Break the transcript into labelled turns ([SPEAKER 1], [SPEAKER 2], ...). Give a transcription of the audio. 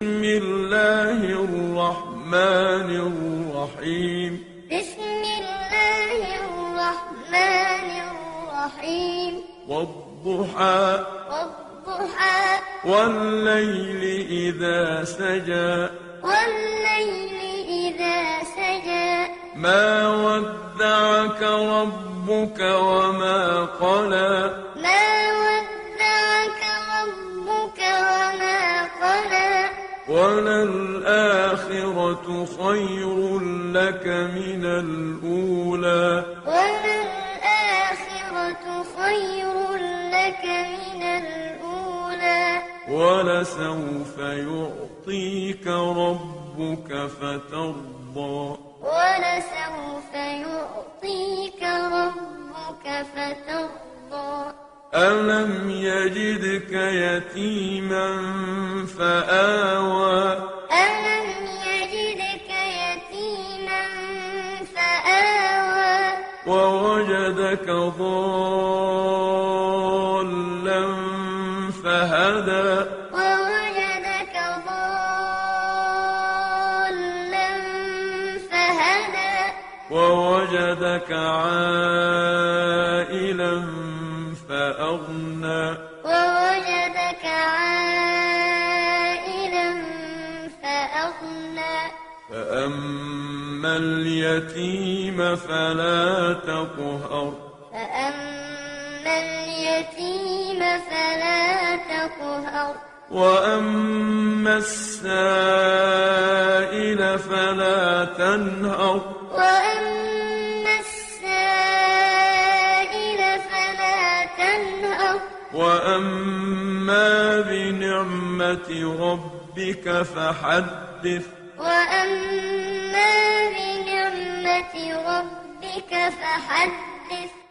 [SPEAKER 1] بسم الله الرحمن الرحيم
[SPEAKER 2] بسم الله الرحمن الرحيم
[SPEAKER 1] والضحى
[SPEAKER 2] والضحى
[SPEAKER 1] والليل إذا سجى
[SPEAKER 2] والليل إذا سجى
[SPEAKER 1] ما ودعك ربك وما قلى
[SPEAKER 2] ما ودعك ربك وما قلى
[SPEAKER 1] وللآخرة خير لك من الأولى
[SPEAKER 2] وللآخرة خير لك من الأولى
[SPEAKER 1] ولسوف يعطيك ربك فترضى
[SPEAKER 2] ولسوف يعطيك ربك فترضى
[SPEAKER 1] ألم يجدك يتيما فآوى
[SPEAKER 2] ألم يجدك يتيما فآوى
[SPEAKER 1] ووجدك ضالا فهدى
[SPEAKER 2] ووجدك ضالا فهدى
[SPEAKER 1] ووجدك عائلا فأغنى
[SPEAKER 2] ووجدك عائلا فأغنى
[SPEAKER 1] فأما اليتيم فلا تقهر
[SPEAKER 2] فأما اليتيم فلا تقهر
[SPEAKER 1] وأما السائل فلا تنهر
[SPEAKER 2] وأما السائل فلا تنهر
[SPEAKER 1] وأما بنعمة ربك فحدث
[SPEAKER 2] وأما بنعمة ربك فحدث